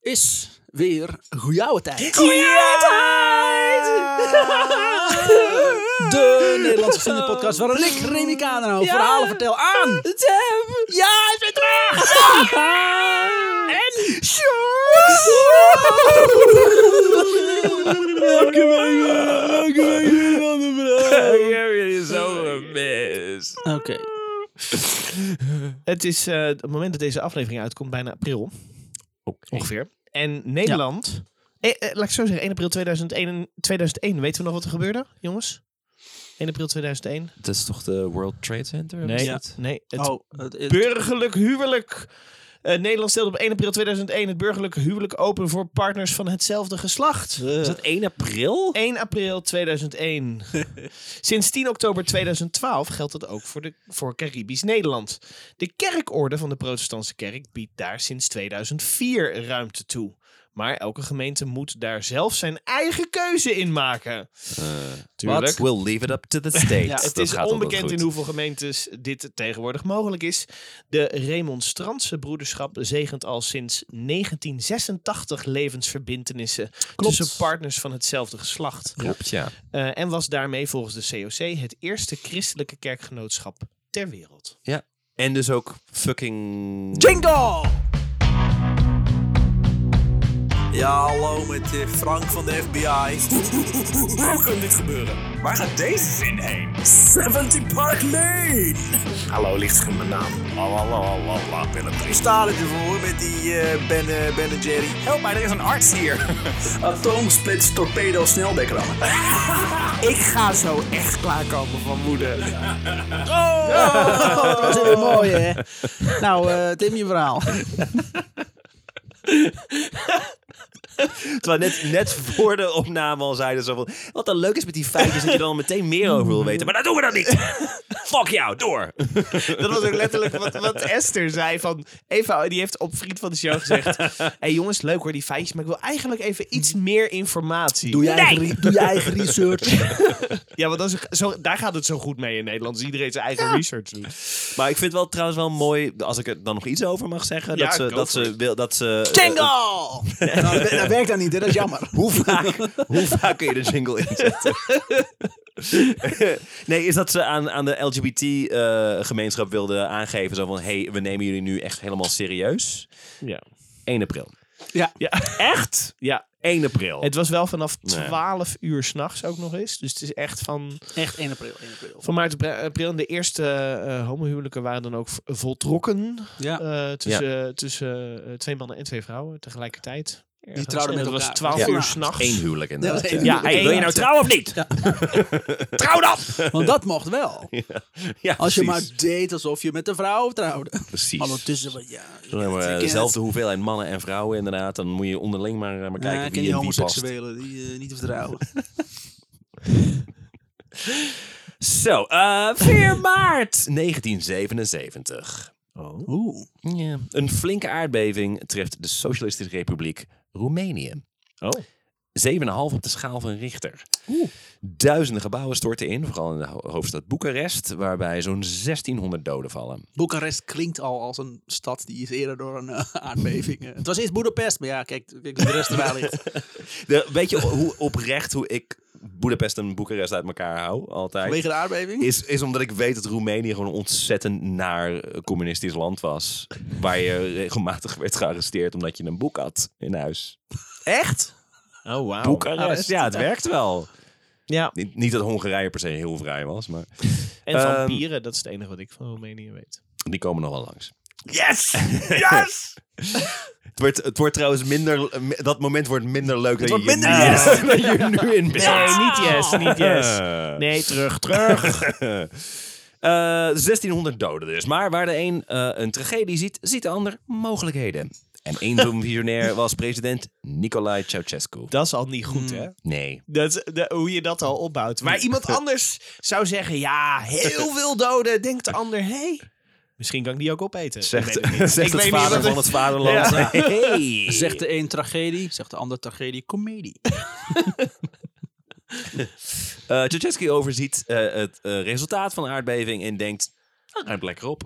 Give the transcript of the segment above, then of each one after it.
is weer goeie tijd. De Nederlandse vriendenpodcast waarin ik, Remy Kadenau, Ja. verhalen vertel aan... Sam! Ja, ik ben terug! En... Welke week welke week weer een andere vraag. Ik heb jullie zo gemist. Oké. Het is eh, het moment dat deze aflevering uitkomt, bijna april ongeveer. En Nederland, eh, eh, laat ik zo zeggen, 1 april 2001, 2001. Weten we nog wat er gebeurde, jongens? 1 april 2001? Dat is toch de World Trade Center? Nee, Was Ja. dat? nee. Het Oh, het, het- burgerlijk huwelijk. Eh, Nederland stelde op 1 april 2001 het burgerlijk huwelijk open voor partners van hetzelfde geslacht. Dus Eh, Is dat 1 april? 1 april 2001. Sinds 10 oktober 2012 geldt dat ook voor, de, voor Caribisch Nederland. De kerkorde van de protestantse kerk biedt daar sinds 2004 ruimte toe. Maar elke gemeente moet daar zelf zijn eigen keuze in maken. Tuurlijk. We'll leave it up to the states. Ja, Het Dat is gaat altijd onbekend goed. in hoeveel gemeentes dit tegenwoordig mogelijk is. De remonstrantse broederschap zegent al sinds 1986 levensverbintenissen tussen partners van hetzelfde geslacht. Klopt, ja. Eh, en was daarmee volgens de COC het eerste christelijke kerkgenootschap ter wereld. ja. En dus ook fucking... Jingle! Ja, hallo met eh, Frank van de FBI. Hoe kan dit gebeuren? Waar gaat deze zin heen? 70 Park Lane! Hallo, ligt in mijn naam. Sta er ervoor met die eh, ben, eh, ben en Jerry. Help mij, er is een arts hier. Atoomsplits torpedo snelbekrammen. Ik ga zo echt klaarkomen van moeder. Oh! Dat was Oh, weer mooi, hè? Nou, eh, Tim, je verhaal. Terwijl net, net voor de opname al zeiden zo van... Wat dan leuk is met die feitjes dat je dan meteen meer over wil weten. Maar dat doen we dan niet. Fuck jou, door. Dat was ook letterlijk wat, wat Esther zei. Van Eva, die heeft op Vriend van de Show gezegd... Hé hey jongens, leuk hoor die feitjes, maar ik wil eigenlijk even iets meer informatie. Doe je eigen, re- doe je eigen research. Ja, want dat is, zo, daar gaat het zo goed mee in Nederland. Dus iedereen zijn eigen research doet. Maar ik vind wel trouwens wel mooi, als ik er dan nog iets over mag zeggen, Ja, dat ze, go dat for ze, it. wil, dat ze Jingle! Nou, dat- dat werkt dan niet, hè? Dat is jammer. Hoe vaak, hoe vaak kun je de jingle inzetten? nee, is dat ze aan, aan de LGBT-gemeenschap eh, wilden aangeven: zo van hey, we nemen jullie nu echt helemaal serieus. Ja. 1 april. Ja. Echt? ja. 1 april. Het was wel vanaf Nee. 12 uur s'nachts ook nog eens. Dus het is echt van... Echt 1 april, 1 april. Van maart tot april. En de eerste eh, homohuwelijken waren dan ook v- voltrokken. Ja. Eh, tussen tussen eh, twee mannen en twee vrouwen tegelijkertijd. Ergens. trouwden En met dat was elkaar. 12 Ja. uur Ja. s'nachts. Eén huwelijk inderdaad. Ja, dat is één ja, huwelijk. hey, wil je nou trouwen of niet? Trouw dan! Want dat mocht wel. Ja, Als je maar precies. deed alsof je met een vrouw trouwde. Precies. Maar ondertussen, van, ja. Dan hebben we ik ken dezelfde hoeveelheid mannen en vrouwen inderdaad. Dan moet je onderling maar, eh, maar het. Ja, kijken ik ken wie die en wie past. homoseksuelen die eh, niet te vertrouwen. Zo, eh 4 maart 1977. Oeh. Ja. Een flinke aardbeving treft de Socialistische Republiek Roemenië. Oh. 7,5 op de schaal van Richter. Duizenden gebouwen storten in, vooral in de ho- hoofdstad Boekarest, waarbij zo'n 1600 doden vallen. Boekarest klinkt al als een stad die is eerder door een eh, aardbeving. eh. Het was eerst Boedapest, maar ja, kijk, kijk hoe de rest erbij ligt. De, weet je hoe oprecht hoe ik Boedapest en Boekarest uit elkaar hou? Altijd. Vanwege de aardbeving. Is, is omdat ik weet dat Roemenië gewoon een ontzettend naar eh, communistisch land was. Waar je regelmatig werd gearresteerd omdat je een boek had in huis. Echt? Oh, wauw. Boekarest, ja, het werkt wel. Ja, Niet, niet dat Hongarije per se heel vrij was, maar en Ehm, vampieren, dat is het enige wat ik van Roemenië weet. die komen nog wel langs. Yes! Yes! Het wordt, het wordt trouwens minder, eh, mi- dat moment wordt minder leuk dan wordt je, je minder nu- yes. dat je nu in Eh. bent. Nee, niet yes, niet yes. Nee, terug, terug. Eh, 1600 doden dus. Maar waar de een eh, een tragedie ziet, ziet de ander mogelijkheden. En één zo'n visionair was president Nicolae Ceausescu. Dat is al niet goed, hè? Nee. Dat, de- hoe je dat al opbouwt. Maar iemand anders zou zeggen, ja, heel veel doden. Denkt de ander, hé, hey, misschien kan ik die ook opeten. Zegt, ik weet het niet. zegt Ik het weet niet vader wat van het vaderland. Ja. Hey. Zegt de een tragedie, zegt de ander tragedie, comedie. Eh Ceausescu overziet eh, het eh, resultaat van de aardbeving en denkt... Dat ruimt lekker op.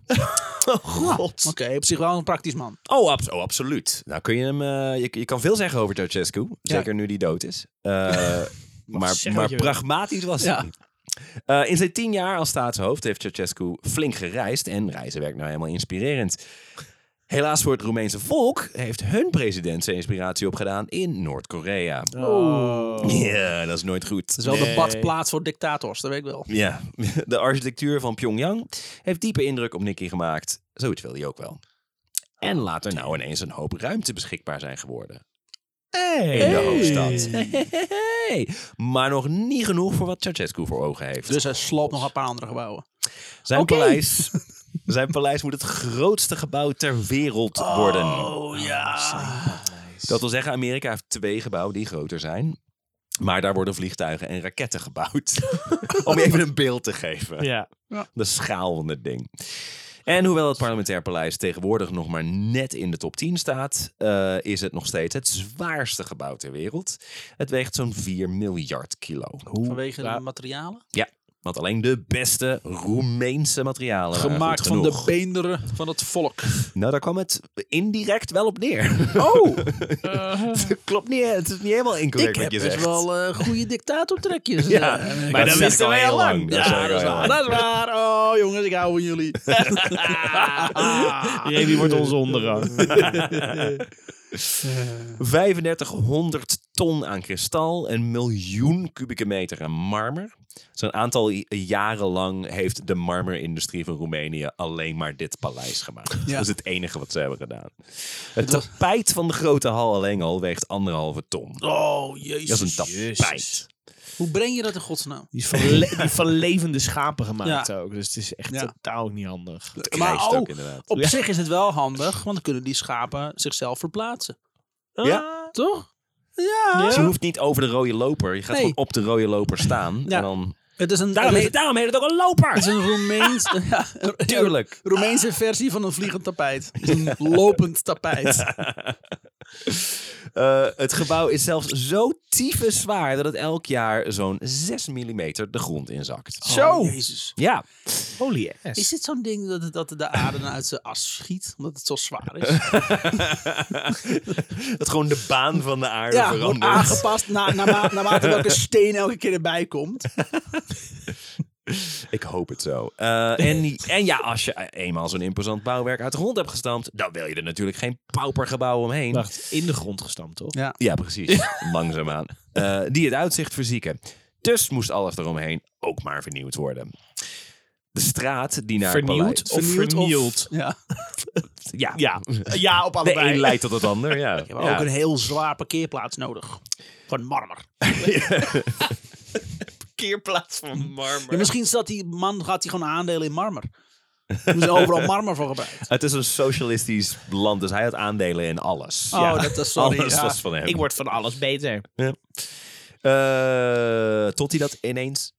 Oh god. Oké, op zich wel een praktisch man. Oh, abs- oh, absoluut. Nou kun je hem. eh, je, je kan veel zeggen over Ceausescu. Zeker nu die dood is. Eh, maar zeggen wat maar je wil. pragmatisch was hij Ja. niet. Eh, in zijn tien jaar als staatshoofd heeft Ceausescu flink gereisd. En reizen werkt nou helemaal inspirerend. Helaas voor het Roemeense volk heeft hun president zijn inspiratie opgedaan in Noord-Korea. Oh. Ja, dat is nooit goed. Het is wel Nee. de badplaats voor dictators, dat weet ik wel. Ja, de architectuur van Pyongyang heeft diepe indruk op Nicky gemaakt. Zoiets wilde hij ook wel. En later nou ineens een hoop ruimte beschikbaar zijn geworden. Hey. In de hoofdstad. Hey. Maar nog niet genoeg voor wat Ceausescu voor ogen heeft. Dus hij sloopt nog een paar andere gebouwen. zijn, Oké. paleis, zijn paleis moet het grootste gebouw ter wereld worden. Oh ja. Dat wil zeggen, Amerika heeft twee gebouwen die groter zijn. Maar daar worden vliegtuigen en raketten gebouwd. Om je even een beeld te geven. Ja. De schaal van het ding. En hoewel het parlementair paleis tegenwoordig nog maar net in de top 10 staat, eh, is het nog steeds het zwaarste gebouw ter wereld. Het weegt zo'n 4 miljard kilo. Vanwege de materialen. Ja, want alleen de beste Roemeense materialen waren Gemaakt goed van de genoeg. beenderen van het volk. Nou, daar kwam het indirect wel op neer. Oh, Het Klopt niet, hè? het is niet helemaal incorrect ik heb wat je best zegt. wel eh, goede dictatortrekjes. Ja, eh, eh, maar ik- dat wisten wisten wij wij al al lang. lang. ja, Dat zeg ik dat is al waar. lang. Dat is waar. Oh jongens, ik hou van jullie. Remy wordt onze onderrang. 3500 ton aan kristal, een miljoen kubieke meter aan marmer. Zo'n aantal i- jaren lang heeft de marmerindustrie van Roemenië alleen maar dit paleis gemaakt. Ja. Dat is het enige wat ze hebben gedaan. Het was- tapijt van de grote hal alleen al weegt anderhalve ton. Oh Dat is jezus. een tapijt. Hoe breng je dat in godsnaam? Die is van, le- die is van levende schapen gemaakt ook. Dus het is echt Ja. totaal niet handig. Maar Krijst ook oh, inderdaad. op Ja. zich is het wel handig, want dan kunnen die schapen zichzelf verplaatsen. Ja. Toch? Ah. Ja. Dus je hoeft niet over de rode loper. Je gaat Nee. gewoon op de rode loper staan. Ja. En dan... Het is een, daarom, het heet het, daarom heet het ook een loper. is een Roemeens, ja, Tuurlijk. Roemeense versie van een vliegend tapijt. Het is Een lopend tapijt. Eh, het gebouw is zelfs zo tyfus zwaar dat het elk jaar zo'n 6 mm de grond inzakt. Zo. Oh, Jezus. Ja, Holy ass. Is dit zo'n ding dat, dat de aarde uit zijn as schiet? Omdat het zo zwaar is? dat gewoon de baan van de aarde Ja, wordt verandert. aangepast na, na, naarmate welke steen elke keer erbij komt. Ik hoop het zo. Eh, en, en ja, als je eenmaal zo'n imposant bouwwerk uit de grond hebt gestampt, dan wil je er natuurlijk geen paupergebouw omheen. Wacht, in de grond gestampt, toch? Ja. Ja, precies. Langzaamaan. Eh, die het uitzicht verzieken. Dus moest alles eromheen ook maar vernieuwd worden. De straat die naar het Vernieuwd paleis- of vernield? Ja. Ja, Ja. ja, op de een allebei. leidt tot het ander. Ja. Je hebt Ja. ook een heel zwaar parkeerplaats nodig. Van marmer. parkeerplaats van Ja, marmer. misschien zat die man gaat hij gewoon aandelen in marmer. Toen ze overal marmer voor gebruikt. Het is een socialistisch land, dus hij had aandelen in alles. Oh, Ja. dat is sorry. alles ja. was van hem. Ik word van alles beter. Eh, tot hij dat ineens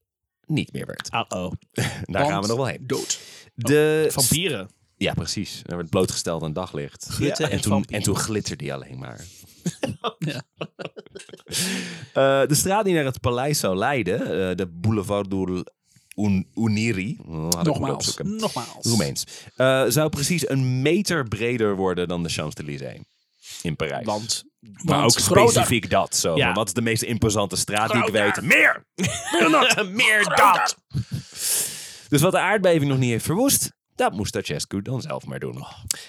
niet meer werd. Uh-oh. Daar Ah, Want gaan we nog wel heen. Dood. De... Vampieren. Ja, precies. Hij werd blootgesteld aan daglicht. Glitter En en toen, vampier. en toen glitterde hij alleen maar. Ja. Eh, de straat die naar het paleis zou leiden, eh, de Boulevardul Un Uniri. Oh, had ik moeten Nogmaals. opzoeken. Nogmaals. Roemeens. Eh, zou precies een meter breder worden dan de Champs-Élysées in Parijs. Want maar want ook groter. specifiek dat. Zo. Ja. van, Wat is de meest imposante straat die ik Groter. weet? Meer! meer dat. Dus wat de aardbeving nog niet heeft verwoest, dat moest Ceausescu dan zelf maar doen.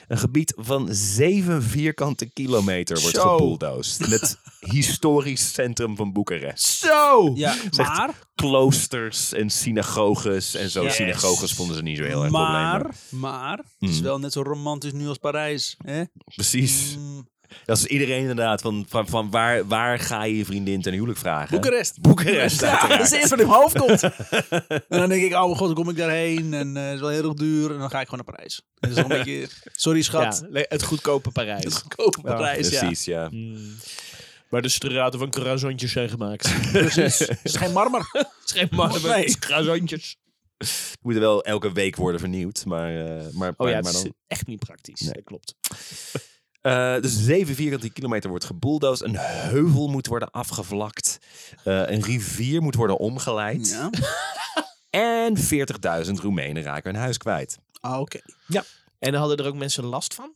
Een gebied van zeven vierkante kilometer wordt Zo. gebulldozed. In het historisch centrum van Boekarest. Zo. Ja, maar, Kloosters en synagoges en zo. Yes. Synagoges vonden ze niet zo heel erg probleem. maar, maar, het is wel net zo romantisch nu als Parijs. Hè? Precies. Mm, Dat is iedereen inderdaad. Van, van, van waar, waar ga je je vriendin ten huwelijk vragen? Boekarest. Boekarest, Ja, uiteraard. dat is eerst wat in mijn hoofd komt. en dan denk ik, oh mijn god, dan kom ik daarheen en eh, het is wel heel erg duur. En dan ga ik gewoon naar Parijs. Dat is wel een beetje, sorry schat, Ja, le- het goedkope Parijs. goedkoop Parijs, ja. Precies, ja. Waar de straten van croissantjes zijn gemaakt. Precies. Het is geen marmer. Het is geen marmer, Nee. het is croissantjes. Moeten wel elke week worden vernieuwd. Maar, eh, maar, Oh maar ja, het dan... is echt niet praktisch. Nee. Dat klopt. Eh, dus 7 vierkante kilometer wordt gebulldozed. Een heuvel moet worden afgevlakt. eh, een rivier moet worden omgeleid. Ja. En 40.000 Roemenen raken hun huis kwijt. Ah, oké. En dan hadden er ook mensen last van.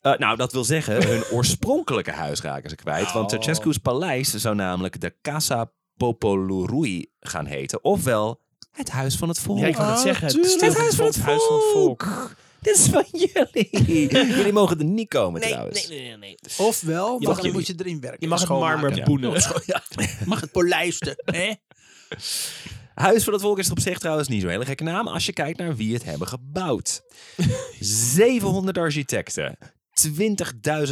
Eh, nou, dat wil zeggen, hun oorspronkelijke huis raken ze kwijt. Want Oh. Ceausescu's paleis zou namelijk de Casa Popolurui gaan heten. Ofwel het Huis van het Volk. Ja, ik wou net Ah, zeggen. tuurlijk. stil- Het Huis van het Volk! Huis van het Volk. Dit is van jullie. jullie mogen er niet komen Nee, trouwens. nee, nee, nee, nee. Ofwel, maar dan jullie- moet je erin werken. Je mag het Schoonmaken. marmer Ja. boenen. Mag het polijsten, hè? Huis van het Volk is er op zich trouwens niet zo'n hele gekke naam als je kijkt naar wie het hebben gebouwd. 700 architecten,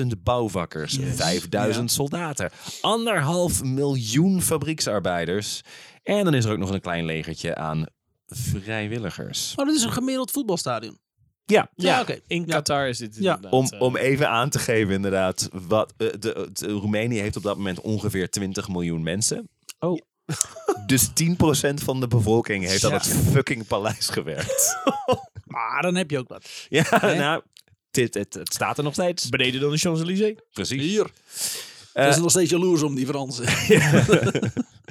20.000 bouwvakkers, 5000 soldaten, anderhalf miljoen fabrieksarbeiders. En dan is er ook nog een klein legertje aan vrijwilligers. Oh, dat is een gemiddeld voetbalstadion. Ja, Ja, oké. In Ja. Qatar is dit Ja. inderdaad. om, eh, om even aan te geven inderdaad, wat, eh, de, de- Roemenië heeft op dat moment ongeveer 20 miljoen mensen. Oh. Dus 10% van de bevolking heeft aan Ja. het fucking paleis gewerkt. Maar dan heb je ook wat. Ja, nou, dit, het, het staat er nog steeds. beneden dan de Champs-Élysées. Precies. Hier. Eh, Ze zijn nog steeds jaloers om, die Fransen.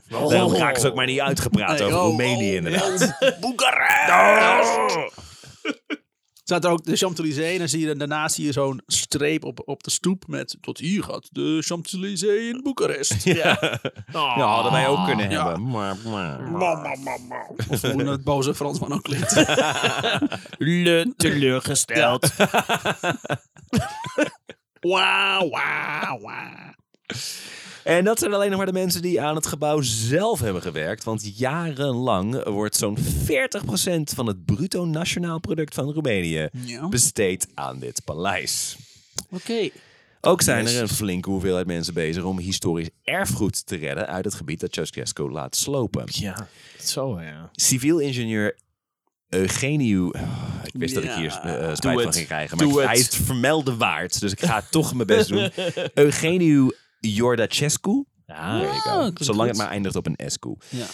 Daarom raken ze ook maar niet uitgepraat Oh. Nee, over oh, Roemenië oh, inderdaad. Staat er ook de Champs-Élysées en dan zie je, daarnaast zie je zo'n streep op, op de stoep met... Tot hier gaat de Champs-Élysées in Boekarest. Ja. Ja, hadden wij ook kunnen Oh. Ja. hebben. Maar, maar- Of hoe het boze Fransman ook klinkt. Le teleurgesteld. Wauw, wauw, wauw. En dat zijn alleen nog maar de mensen die aan het gebouw zelf hebben gewerkt. Want jarenlang wordt zo'n 40% van het bruto nationaal product van Roemenië Ja. Oké. besteed aan dit paleis. Ook zijn er een flinke hoeveelheid mensen bezig om historisch erfgoed te redden uit het gebied dat Ceausescu laat slopen. Ja, zo ja. civiel ingenieur Eugeniu. Ik wist dat ik hier Ja. eh, spijt Doe van het. ging krijgen. Maar Doe hij het. is het vermelden waard. Dus ik ga toch mijn best doen. Eh, Eugeniu Jordachescu. Ah, There you go. Ah, klinkt Zolang het goed. maar eindigt op een SQ. Ja.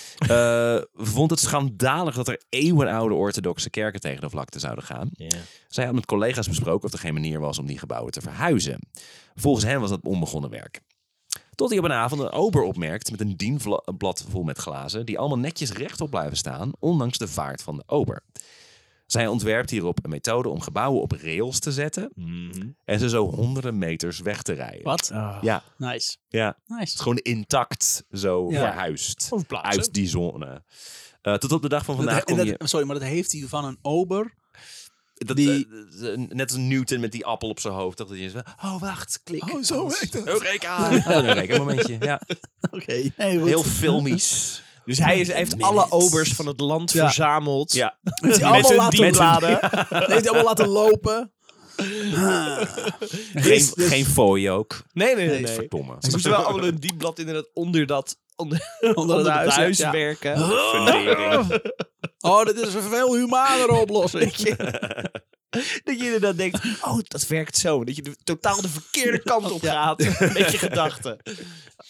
Eh, vond het schandalig dat er eeuwenoude orthodoxe kerken tegen de vlakte zouden gaan. Ja. Zij had met collega's besproken of er geen manier was om die gebouwen te verhuizen. Volgens hen was dat onbegonnen werk. Tot hij op een avond een ober opmerkt met een dienblad vol met glazen, die allemaal netjes rechtop blijven staan, ondanks de vaart van de ober. Zij ontwerpt hierop een methode om gebouwen op rails te zetten Mhm. en ze zo honderden meters weg te rijden. Wat? Ah. Ja, Nice. ja. Het is Nice. gewoon intact zo Ja. verhuisd Of plaatsen. uit die zone. Eh, tot op de dag van vandaag Dat- kom dat- je... Sorry, maar dat heeft hij van een ober. Dat, Die- eh, eh, net als Newton met die appel op zijn hoofd. Dat hij is oh wacht, klik. Oh, zo werkt het. Eureka! Oh, Eureka momentje. Ja. Oké. Nee, goed. Heel filmisch. Dus hij is- hij heeft alle obers van het land Ja. verzameld. Ja. Heeft hij Met allemaal een laten dienblad. bladen. Heeft hij allemaal laten lopen. Geen, geen fooi ook. Nee, nee, nee. Nee, nee. Verdomme. Ze moeten wel allemaal een diepblad inderdaad onder dat, onder, Onder het huis, ja. werken. Fundering. Oh, dit is een veel humanere oplossing. Dat je inderdaad denkt, oh, dat werkt zo. Dat je de, totaal de verkeerde kant op gaat met je gedachten.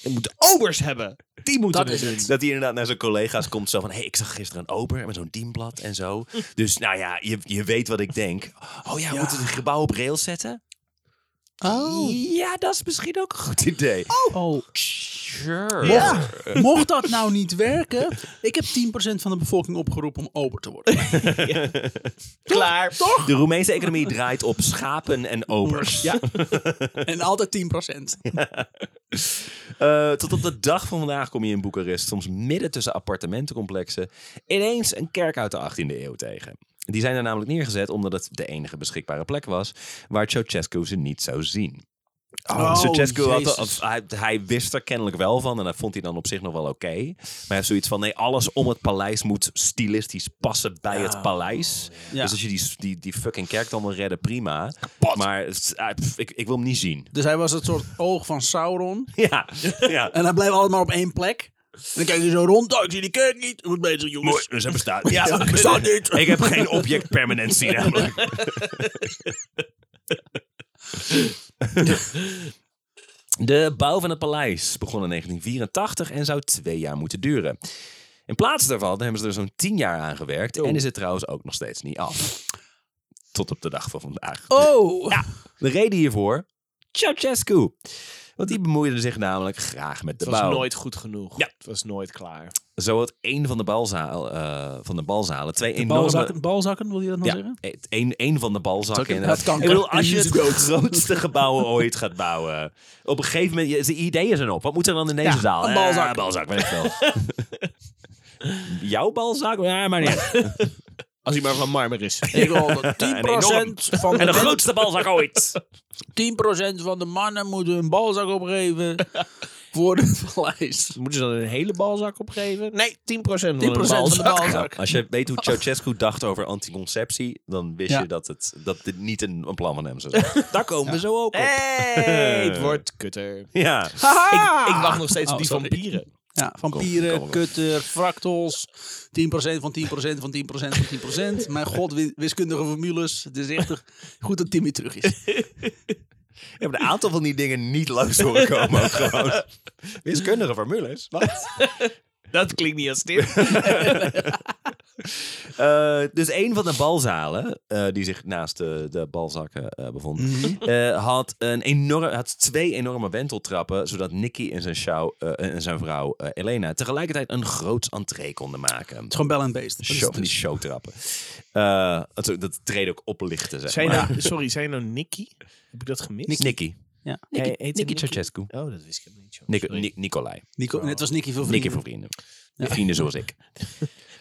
Je moet obers hebben. Die moeten Dat het is doen. Dat hij inderdaad naar zijn collega's komt zo van... hey, ik zag gisteren een ober met zo'n dienblad en zo. Dus nou ja, je, je weet wat ik denk. Oh ja, we moeten het gebouw op rails zetten? Oh. Ja, dat is misschien ook een goed idee. oh. Sure. Ja. Mocht dat nou niet werken, ik heb 10% van de bevolking opgeroepen om ober te worden. Klaar. Toch? De Roemeense economie draait op schapen en obers. Ja. En altijd 10%. Eh, tot op de dag van vandaag kom je in Boekarest, soms midden tussen appartementencomplexen, ineens een kerk uit de 18e eeuw tegen. Die zijn er namelijk neergezet omdat het de enige beschikbare plek was waar Ceausescu ze niet zou zien. Oh, Ceausescu had Jezus. er- of hij, hij wist er kennelijk wel van en dat vond hij dan op zich nog wel oké. Maar hij heeft zoiets van, nee, alles om het paleis moet stilistisch passen bij het paleis. Ja. Dus als je die, die, die fucking kerk dan wil redden, prima. Maar het- hij- pff, ik, ik wil hem niet zien. Dus hij was het soort oog van Sauron. Ja, ja. En hij bleef allemaal op één plek. En dan kijk je zo rond. Oh, ik zie die kerk niet. Goed bezig, jongens. Mooi, dus hij bestaat. Ja, Ja, bestaat niet. Ik heb geen objectpermanentie namelijk. De bouw van het paleis begon in 1984 en zou twee jaar moeten duren. In plaats daarvan hebben ze er zo'n tien jaar aan gewerkt en is het trouwens ook nog steeds niet af. Tot op de dag van vandaag. Oh. De reden hiervoor? Ceausescu. Want die bemoeiden zich namelijk graag met de Het was bouw. nooit goed genoeg. Ja. Het was nooit klaar. Zo had één van de, balzaal, eh, van de balzalen twee enorme... Balzakken, balzakken, wil je dat nou Ja, zeggen? het een, een van de balzakken. Zakken, inderdaad. het kan- Ik bedoel, als je Use het it. grootste gebouw ooit gaat bouwen. Op een gegeven moment, je- de ideeën zijn op. Wat moet er dan in deze Ja, zaal? een Eh, balzak. een balzak, weet ik wel. Jouw balzak? Ja, maar niet. uit. Als hij maar van marmer is. Ik wil dat 10% enorm. van En de de, grootste balzak ooit. 10% van de mannen moeten hun balzak opgeven voor de paleis. Moeten ze dan een hele balzak opgeven? Nee, 10% van 10% 10% van de Ja, balzak. als je weet hoe Ceausescu dacht over anticonceptie, dan wist Ja. je dat, het, dat dit niet een, een plan van hem zou zijn. Daar komen we zo ook Eh. op. Hey, het wordt kutter. Ja. Ik, ik wacht nog steeds op Oh, die sorry. vampieren. Ja, Kom, vampieren, kom, kom. kutter, fractals. 10% van 10% van 10% van 10%. Mijn god, wi- wiskundige formules. Het is echt goed dat Timmy terug is. Je hebt een aantal van die dingen niet langs horen komen. ook gewoon. Wiskundige formules. Wat? Dat klinkt niet als dit. Eh, dus een van de balzalen, eh, die zich naast de, de balzakken eh, bevond, Mhm. eh, had, een enorm, had twee enorme wenteltrappen, zodat Nicky en zijn, sjouw, eh, en zijn vrouw eh, Elena tegelijkertijd een groot entree konden maken. Het is gewoon bel en beest. Dat is Show, het van die dus. showtrappen. Eh, dat, dat treden ook oplichten, zeg Zijn maar. nou, sorry, zijn nou Nicky? Heb ik dat gemist? Nicky. Ja. Nicky, Hey, heet Nicky hij Nicky? Ceausescu. Oh, dat wist ik helemaal niet. Zo. Nico, Sorry. Ni- Nicolai. Nico, en het was Nicky voor Nicky vrienden. voor vrienden. Vrienden zoals ik.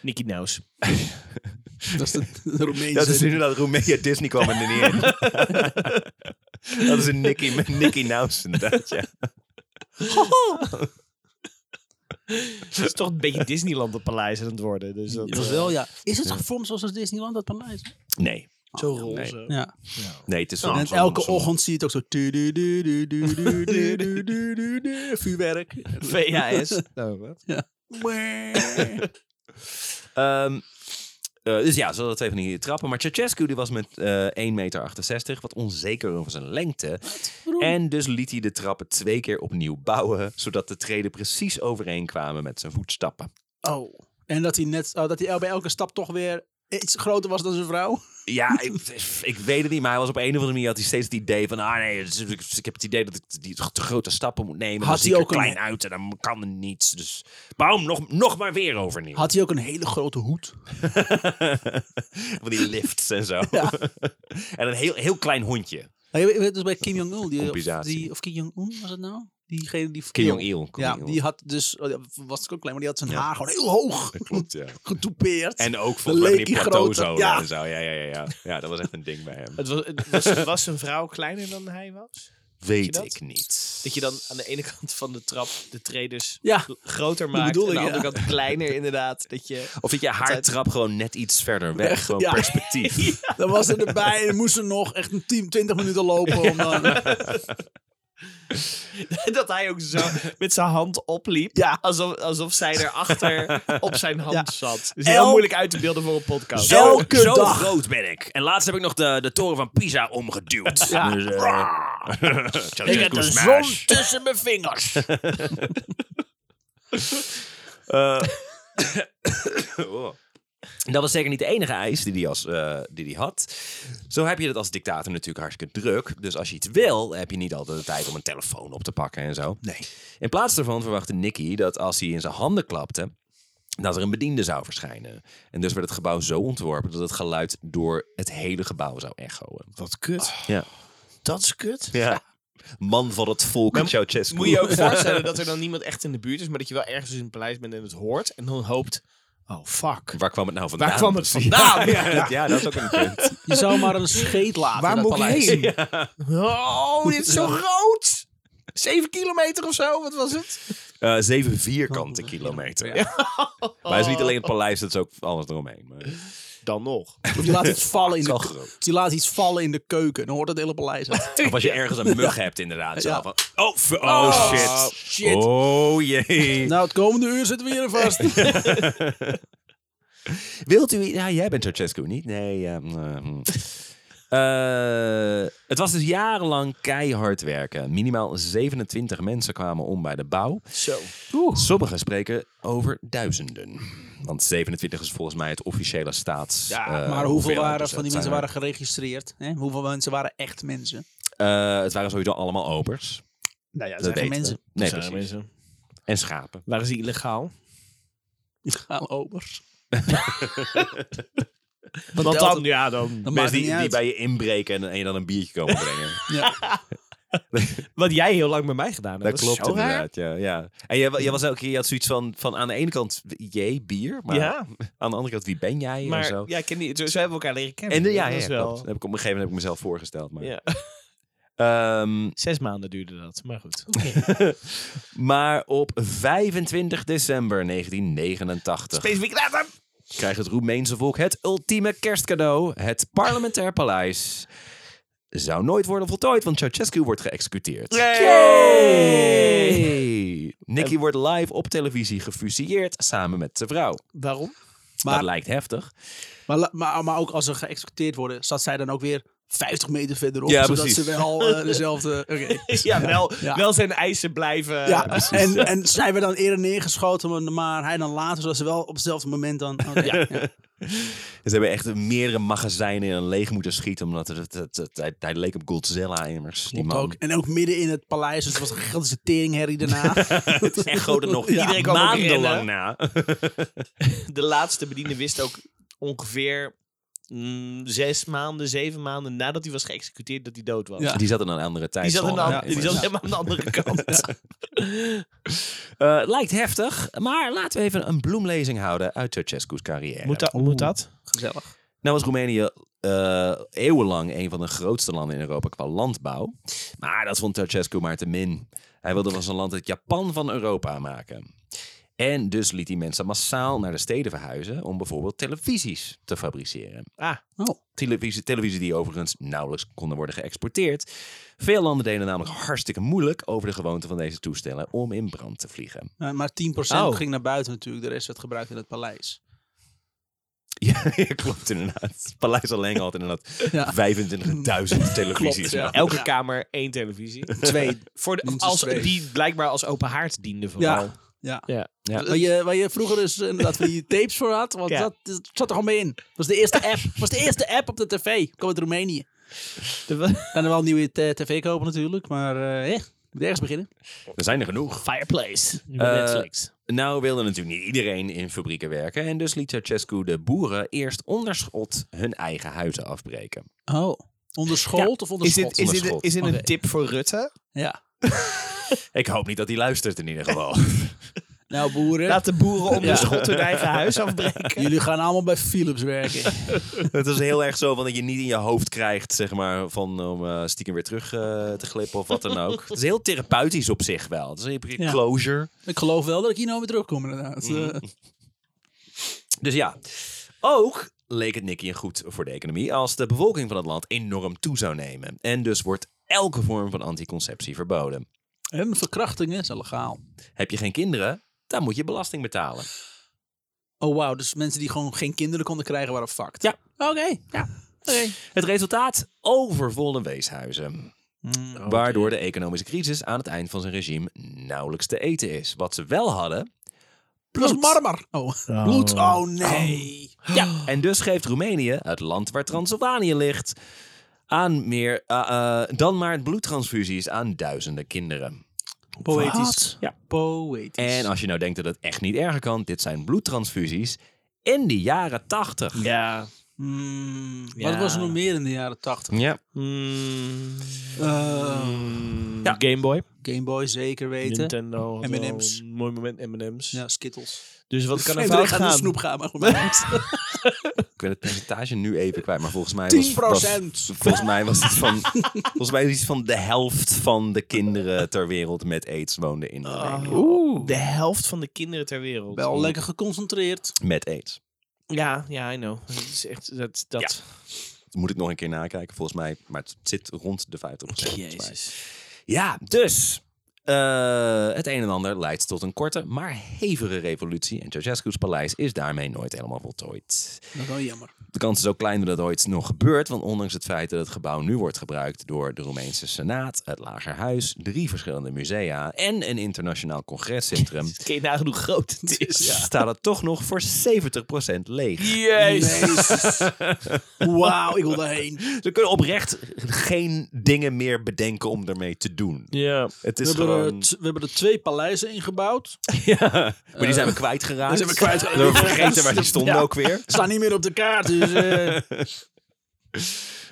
Nicky Nous. Dat is de, de Roemeense. Dat is inderdaad Roemenië. Disney kwam er niet in. dat is een Nicky, Nicky Nous inderdaad, ja. Het is toch een beetje Disneyland op paleis aan het worden. Dus dat Dat was wel, ja. Is het gevormd zoals Disneyland, dat paleis? Oh, Nee. zo nee. roze. Ja. Nee, het is En zo'n- zo'n- elke zo'n- ochtend zie je het ook zo... tu- du- du- du- du- du- du- du- du- du- du- Vuurwerk. VHS. Nou, wat? Ehm, eh, dus ja, ze hadden twee van die trappen. Maar Ceausescu die was met eh 1,68 meter, wat onzeker over zijn lengte. En dus liet hij de trappen twee keer opnieuw bouwen, zodat de treden precies overeenkwamen met zijn voetstappen. Oh. En dat hij, net, oh, dat hij el- bij elke stap toch weer iets groter was dan zijn vrouw. Ja, ik, ik weet het niet, maar hij was op een of andere manier had hij steeds het idee van, ah nee, dus ik, ik heb het idee dat ik die te grote stappen moet nemen. Had dan zie hij ik er ook een- klein uit en dan kan er niets. Dus bouw hem nog, nog maar weer overnieuw. Had hij ook een hele grote hoed. Van die lifts en zo. en een heel, heel klein hondje. Hey, weet- weet- Dus bij Kim Jong-il. die- Of, Compensatie. die- of Kim Jong-un was het nou? Diegene die... Kim Jong-il. Kim Ja, Jong-il. die had dus... oh, ja, Was ook klein, maar die had zijn Ja. haar gewoon heel hoog. Klopt, ja. Getoupeerd. En ook Dan volgens mij van leek die hij plateauzolen groter. Ja. en zo. Ja, ja, ja, ja. ja, dat was echt een ding bij hem. Het was, het was, was zijn vrouw kleiner dan hij was? je Weet dat? ik niet. Dat je dan aan de ene kant van de trap de traders Ja. gl- groter maakt. En bedoel aan de ik, andere ja. kant kleiner inderdaad. Dat je... Of dat je haartrap gewoon net iets verder weg. Gewoon ja. perspectief. Dan was ze erbij en moest ze nog echt een 10, 20 minuten lopen. Om dan, Dat hij ook zo met zijn hand opliep. Ja. Alsof, alsof zij erachter op zijn hand zat. Dus El- heel moeilijk uit te beelden voor een podcast. Zo, Elke zo dag. groot ben ik. En laatst heb ik nog de, de toren van Pisa omgeduwd. Ja. Dus, eh, Ceausescu ik heb de zon smash. tussen mijn vingers. Oh. Dat was zeker niet de enige eis die hij, als, eh, die hij had. Zo heb je dat als dictator natuurlijk hartstikke druk. Dus als je iets wil, heb je niet altijd de tijd om een telefoon op te pakken en zo. Nee. In plaats daarvan verwachtte Nicky dat als hij in zijn handen klapte, dat er een bediende zou verschijnen. En dus werd het gebouw zo ontworpen dat het geluid door het hele gebouw zou echoen. Wat kut. Ja. Dat is kut. ja. Man van het volk, Ceausescu. Moet je ook voorstellen dat er dan niemand echt in de buurt is, maar dat je wel ergens in het paleis bent en het hoort. En dan hoopt, oh fuck. Waar kwam het nou vandaan? Waar kwam het precies? vandaan? Ja, ja, ja, dat is ook een punt. Je zou maar een scheet laten. Waar in dat moet ik paleis. heen? Oh, dit is zo groot. Zeven kilometer of zo, wat was het? Eh, zeven vierkante kilometer. Maar het is niet alleen het paleis, het is ook alles eromheen. Maar... Dan nog. Of je laat iets vallen in de, wel groot. of je laat iets vallen in de keuken. Dan hoort het hele paleis uit. Of als je ergens een mug hebt, inderdaad. Zo Ja. van, oh, f- oh, shit. shit. Oh jee. Nou, het komende uur zitten we hier vast. Wilt u... Ja, jij bent Ceausescu niet. Nee, ja, mm, eh, mm. Eh, het was dus jarenlang keihard werken. Minimaal 27 mensen kwamen om bij de bouw. Zo. Sommigen spreken over duizenden. Want 27 is volgens mij het officiële staats... Ja, eh, maar hoeveel hoeveelheid. waren Dus van dat die zijn mensen er- waren geregistreerd? Hè? Hoeveel mensen waren echt mensen? Eh, het waren sowieso allemaal opers. Nou ja, dat Dat zijn geen weten mensen. we. Nee, Sorry, precies. mensen. En schapen. Waren ze illegaal? Illegale obers. Want telt dan, ja, dan. Dan maakt Mensen het niet die, die uit. bij je inbreken en, en je dan een biertje komen brengen. Ja. Wat jij heel lang bij mij gedaan hebt. Dat klopt inderdaad, ja, ja. En jij, wa- jij was elke keer, je had zoiets van, van aan de ene kant, jee, bier. Maar Ja, aan de andere kant, wie ben jij en maar zo. ja, ik ken die, zo, zo hebben we elkaar leren kennen. En de, ja, ja, dat ja, is klopt. Dat Heb ik, op een gegeven moment heb ik mezelf voorgesteld. Maar, Ja. Ehm, Zes maanden duurde dat, maar goed. maar op 25 december 1989 Specifiek datum! krijgt het Roemeense volk het ultieme kerstcadeau. Het parlementair paleis zou nooit worden voltooid, want Ceausescu wordt geëxecuteerd. Yay! Nicky wordt live op televisie gefusilleerd samen met zijn vrouw. Waarom? dat Maar, lijkt heftig. maar, la- maar, maar ook als ze geëxecuteerd worden, zat zij dan ook weer 50 meter verderop. Ja, zodat precies. ze wel eh, dezelfde... Oké. Ja, wel, Ja. wel zijn eisen blijven. Ja, en, en zij werd dan eerder neergeschoten, maar- maar hij dan later, zodat ze wel op hetzelfde moment dan... oké, ja, ja. Ze hebben echt meerdere magazijnen in een leeg moeten schieten. Omdat het, het- het- het- hij, hij leek op Godzilla immers. Die Klopt man. Ook. En ook midden in het paleis, dus het was een gigantische teringherrie daarna. Het echo er nog Ja. iedereen kwam ook maandenlang rennen. na. De laatste bediende wist ook ongeveer mm, zes maanden, zeven maanden nadat hij was geëxecuteerd dat hij dood was. Ja. Die zat in een andere tijd. Die zat, aan de an- die zat Ja. helemaal aan de andere kant. Eh, lijkt heftig, maar laten we even een bloemlezing houden uit Ceausescu's carrière. dat? Moet dat? Gezellig. Nou was Roemenië eh, eeuwenlang een van de grootste landen in Europa qua landbouw. Maar dat vond Ceausescu maar te min. Hij wilde van zijn land het Japan van Europa maken. En dus liet hij mensen massaal naar de steden verhuizen om bijvoorbeeld televisies te fabriceren. Ah, Oh. Televisie, televisie die overigens nauwelijks konden worden geëxporteerd. Veel landen deden namelijk hartstikke moeilijk over de gewoonte van deze toestellen om in brand te vliegen. Eh, maar 10% Oh. ging naar buiten natuurlijk, de rest werd gebruikt in het paleis. Ja, klopt inderdaad. Het Paleis alleen had inderdaad Ja. 25.000 televisies. Klopt, ja. elke Ja. kamer één televisie. Twee. Voor de, Minstens als, twee. die blijkbaar als open haard diende vooral. Ja. Ja. Ja. Ja. Waar, je, waar je vroeger dus inderdaad van die tapes voor had, want Ja. dat, dat zat er gewoon mee in. Dat was de eerste app. was de eerste app op de tv. Kom uit Roemenië. De- Kan er wel een nieuwe t- tv kopen natuurlijk, maar eh, eh, moet ergens beginnen. Er zijn er genoeg. Fireplace. Nu Eh, bij Netflix. Nou wilde natuurlijk niet iedereen in fabrieken werken. En dus liet Ceausescu de boeren eerst onderschot hun eigen huizen afbreken. Oh. Onderschoold of Is onderschot? dit, is dit, is dit een Oké. tip voor Rutte? Ja. Ik hoop niet dat hij luistert in ieder geval. Nou boeren, Laat de boeren om Ja. de schot hun eigen huis afbreken. jullie gaan allemaal bij Philips werken. Het is heel erg zo van dat je niet in je hoofd krijgt, zeg maar, van om eh, stiekem weer terug eh, te glippen of wat dan ook. Het is heel therapeutisch op zich wel. Het is een beetje Ja. closure. Ik geloof wel dat ik hier nou weer terugkom inderdaad. Eh, Dus ja, ook leek het Nicky een goed voor de economie als de bevolking van het land enorm toe zou nemen. En dus wordt elke vorm van anticonceptie verboden. en verkrachtingen zijn legaal. Heb je geen kinderen, dan moet je belasting betalen. Oh wauw, dus mensen die gewoon geen kinderen konden krijgen waren fucked. Ja. Oké. Ja. Oké. Het resultaat? Overvolle weeshuizen. Waardoor de economische crisis aan het eind van zijn regime nauwelijks te eten is. Wat ze wel hadden. Plus bloed. marmer. Oh. Bloed. Oh nee. Ja. En dus geeft Roemenië, het land waar Transylvanië ligt, aan meer eh, eh, dan maar bloedtransfusies aan duizenden kinderen. Poëtisch. Ja. Poëtisch. En als je nou denkt dat het echt niet erger kan, dit zijn bloedtransfusies in de jaren 80. Ja. Hmm, Ja. Wat was er nog meer in de jaren tachtig? Ja. Mm, Eh mm, Ja. Game Boy. Game Boy zeker weten. Nintendo. had wel M&M's. een Mooi moment, M&M's. Ja, Skittles. Dus wat kan er Nee, fout gaat naar gaan? de snoep gaan, maar goed. Ik ben het percentage nu even kwijt, maar volgens mij was, 10%. was- volgens mij was het van volgens mij is iets van de helft van de kinderen ter wereld met aids woonden in Roemenië. De helft van de kinderen ter wereld. Wel lekker geconcentreerd. met aids. Ja, ja, I know. Dat is echt... Dat, dat. Dat moet ik nog een keer nakijken volgens mij, maar het zit rond de 50%. volgens mij. Jezus. Ja, dus Eh, het een en ander leidt tot een korte, maar hevige revolutie. En Ceausescu's paleis is daarmee nooit helemaal voltooid. Dat is wel jammer. De kans is ook klein dat dat ooit nog gebeurt, want ondanks het feit dat het gebouw nu wordt gebruikt door de Roemeense Senaat, het Lagerhuis, drie verschillende musea en een internationaal congrescentrum, Kun je nagenoeg groot het is. staat het toch nog voor 70% leeg. Jezus. Jezus. Wauw, ik wil daarheen. Ze kunnen oprecht geen dingen meer bedenken om ermee te doen. Ja. Het We is hebben, gewoon... er, t- we hebben er twee paleizen ingebouwd. Maar die zijn we kwijtgeraakt. Die zijn we kwijtgeraakt. We hebben vergeten waar die stonden Ja. ook weer. Staan niet meer op de kaart, dus eh,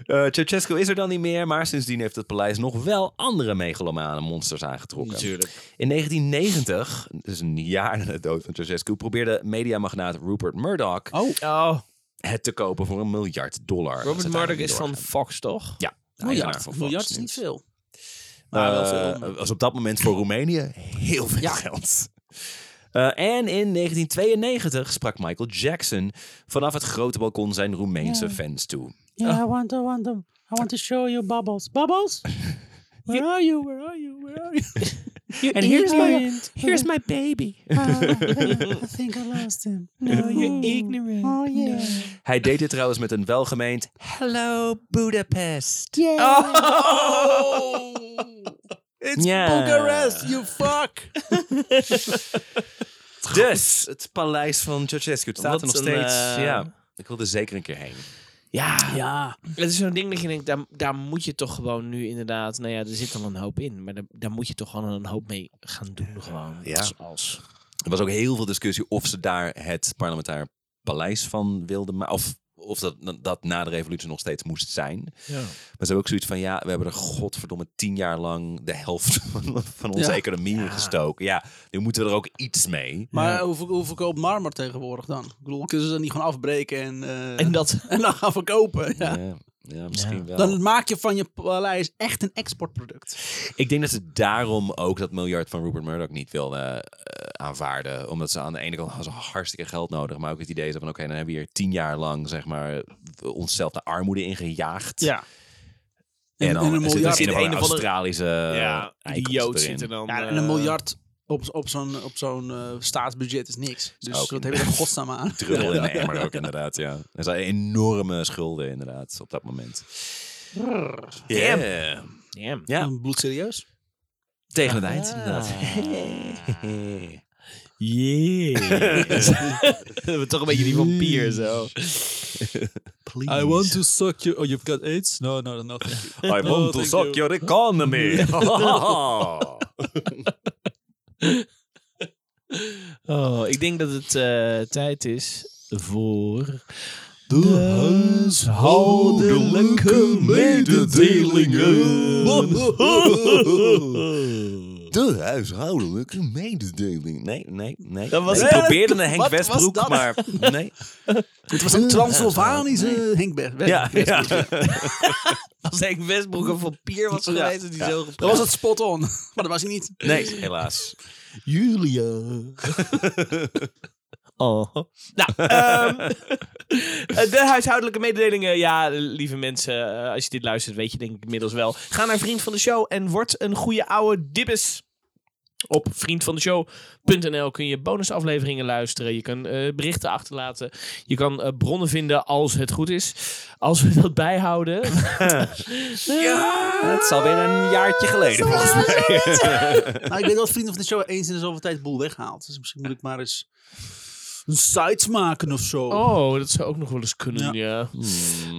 Eh Ceausescu is er dan niet meer, maar sindsdien heeft het paleis nog wel andere megalomane monsters aangetrokken. In 1990, dus een jaar na de dood van Ceausescu, probeerde mediamagnaat Rupert Murdoch Oh, het te kopen voor een miljard dollar. Dat Robert uiteindelijk niet Murdoch is van doorgegaan. Fox, toch? Ja, de eigenaar miljard. van Een Fox miljard is niet News. veel. Eh, Maar wel veel. maar- was op dat moment voor Roemenië heel veel Ja. geld. Eh, en in 1992 sprak Michael Jackson vanaf het grote balkon zijn Roemeense fans toe. Yeah, I want, I want them. I want to show you bubbles. Bubbles, where are you? Where are you? Where are you? you And here's my- ignorant. Here's my baby. Oh, I think I lost him. No, you're ignorant. Oh yeah. Hij deed dit trouwens met een welgemeend Hello Budapest. Yeah. It's Ja. Bucharest, you fuck! Dus het paleis van Ceausescu het staat Wat er nog een, steeds. eh, Ja, ik wil er zeker een keer heen. Ja. Ja, Het is zo'n ding dat je denkt, daar, daar moet je toch gewoon nu inderdaad... Nou ja, er zit al een hoop in. Maar daar, daar moet je toch gewoon een hoop mee gaan doen gewoon. Ja. Als, als. Er was ook heel veel discussie of ze daar het parlementaire paleis van wilden maken. Of, of dat, dat na de revolutie nog steeds moest zijn. Maar ze hebben ook zoiets van, ja, we hebben er godverdomme tien jaar lang de helft van, van onze Ja. economie in gestoken. Ja, nu moeten we er ook iets mee. maar hoe, ver- hoe verkoopt marmer tegenwoordig dan? Ik bedoel, kunnen ze dat niet gewoon afbreken en, eh, En dat... en dan gaan verkopen? Ja. Ja, ja, misschien Ja. wel. Dan maak je van je paleis echt een exportproduct. Ik denk dat ze daarom ook dat miljard van Rupert Murdoch niet wilden eh, aanvaarden. Omdat ze aan de ene kant hadden ze hartstikke geld nodig. Maar ook het idee is van oké, dan hebben we hier tien jaar lang zeg maar onszelf de armoede ingejaagd. Ja. En en dan een zit er miljard zit er in een een of andere- Australische eikels Eh, idioot erin. zit er dan. eh, Ja, en een miljard op, op zo'n op zo'n eh, staatsbudget is niks. Dus Ook dat hebben we er godsnaam aan. Druppel in de emmer ook inderdaad, ja. Er zijn enorme schulden inderdaad op dat moment. Ja. Ja. Ja, Bloedserieus? tegen het eind inderdaad. We hebben toch een beetje die vampier zo. I want to suck you. Oh, you've got AIDS? No, no, no. thank you. I want Oh, to thank you. suck your economy. Oh, ik denk dat het eh, tijd is voor... De huishoudelijke De huishoudelijke mededeling. Nee, nee, nee. Dat was- nee. Ik Nee, probeerde een Henk wat was Westbroek, dat? maar nee. Het was een Transylvanische Henk Ber- Ber- Ja, Ber- ja. Als Henk Westbroek een vampier was geweest, had hij zo gepraat. Dat was het spot on. Maar dat was hij niet. Nee, helaas. Julia. oh. Nou, ehm, de huishoudelijke mededelingen. Ja, lieve mensen, eh, als je dit luistert, weet je denk ik inmiddels wel. Ga naar Vriend van de Show en word een goede oude dibbes. Op vriendvandeshow.nl kun je bonusafleveringen luisteren. Je kan eh, berichten achterlaten. Je kan eh, bronnen vinden als het goed is. Als we dat bijhouden. ja! Het is alweer een jaartje geleden volgens mij. Nou, ik weet dat vrienden van de show eens in de zoveel tijd boel weghaalt. Dus misschien moet ik maar eens een site maken of zo. Oh, dat zou ook nog wel eens kunnen, ja.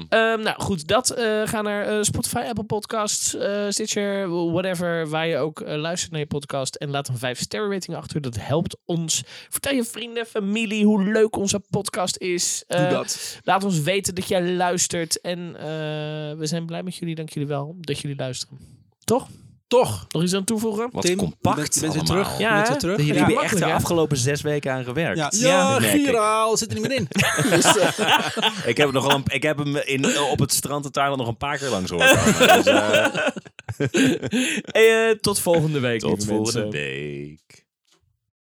Ehm, nou goed, dat eh, ga naar eh, Spotify, Apple Podcasts, eh, Stitcher, whatever, waar je ook eh, luistert naar je podcast. En laat een 5 sterren rating achter, dat helpt ons. Vertel je vrienden, familie hoe leuk onze podcast is. Doe Eh, dat. Laat ons weten dat jij luistert. En eh, we zijn blij met jullie, dank jullie wel dat jullie luisteren. Toch? Toch. Nog iets aan toevoegen? Wat Tim, compact je bent, je bent weer allemaal. terug. Ja, je bent hè? weer terug. Jullie Ja. hebben echt makkelijk, de hè? afgelopen zes weken aan gewerkt. Ja, dat ja, merk ik. giraal zit er niet meer in. Dus, eh, Ik heb, nog wel een, ik heb hem in, op het strand in Thailand nog een paar keer langs horen komen. Dus, eh, Eh, tot volgende week. tot lieve volgende mensen. week.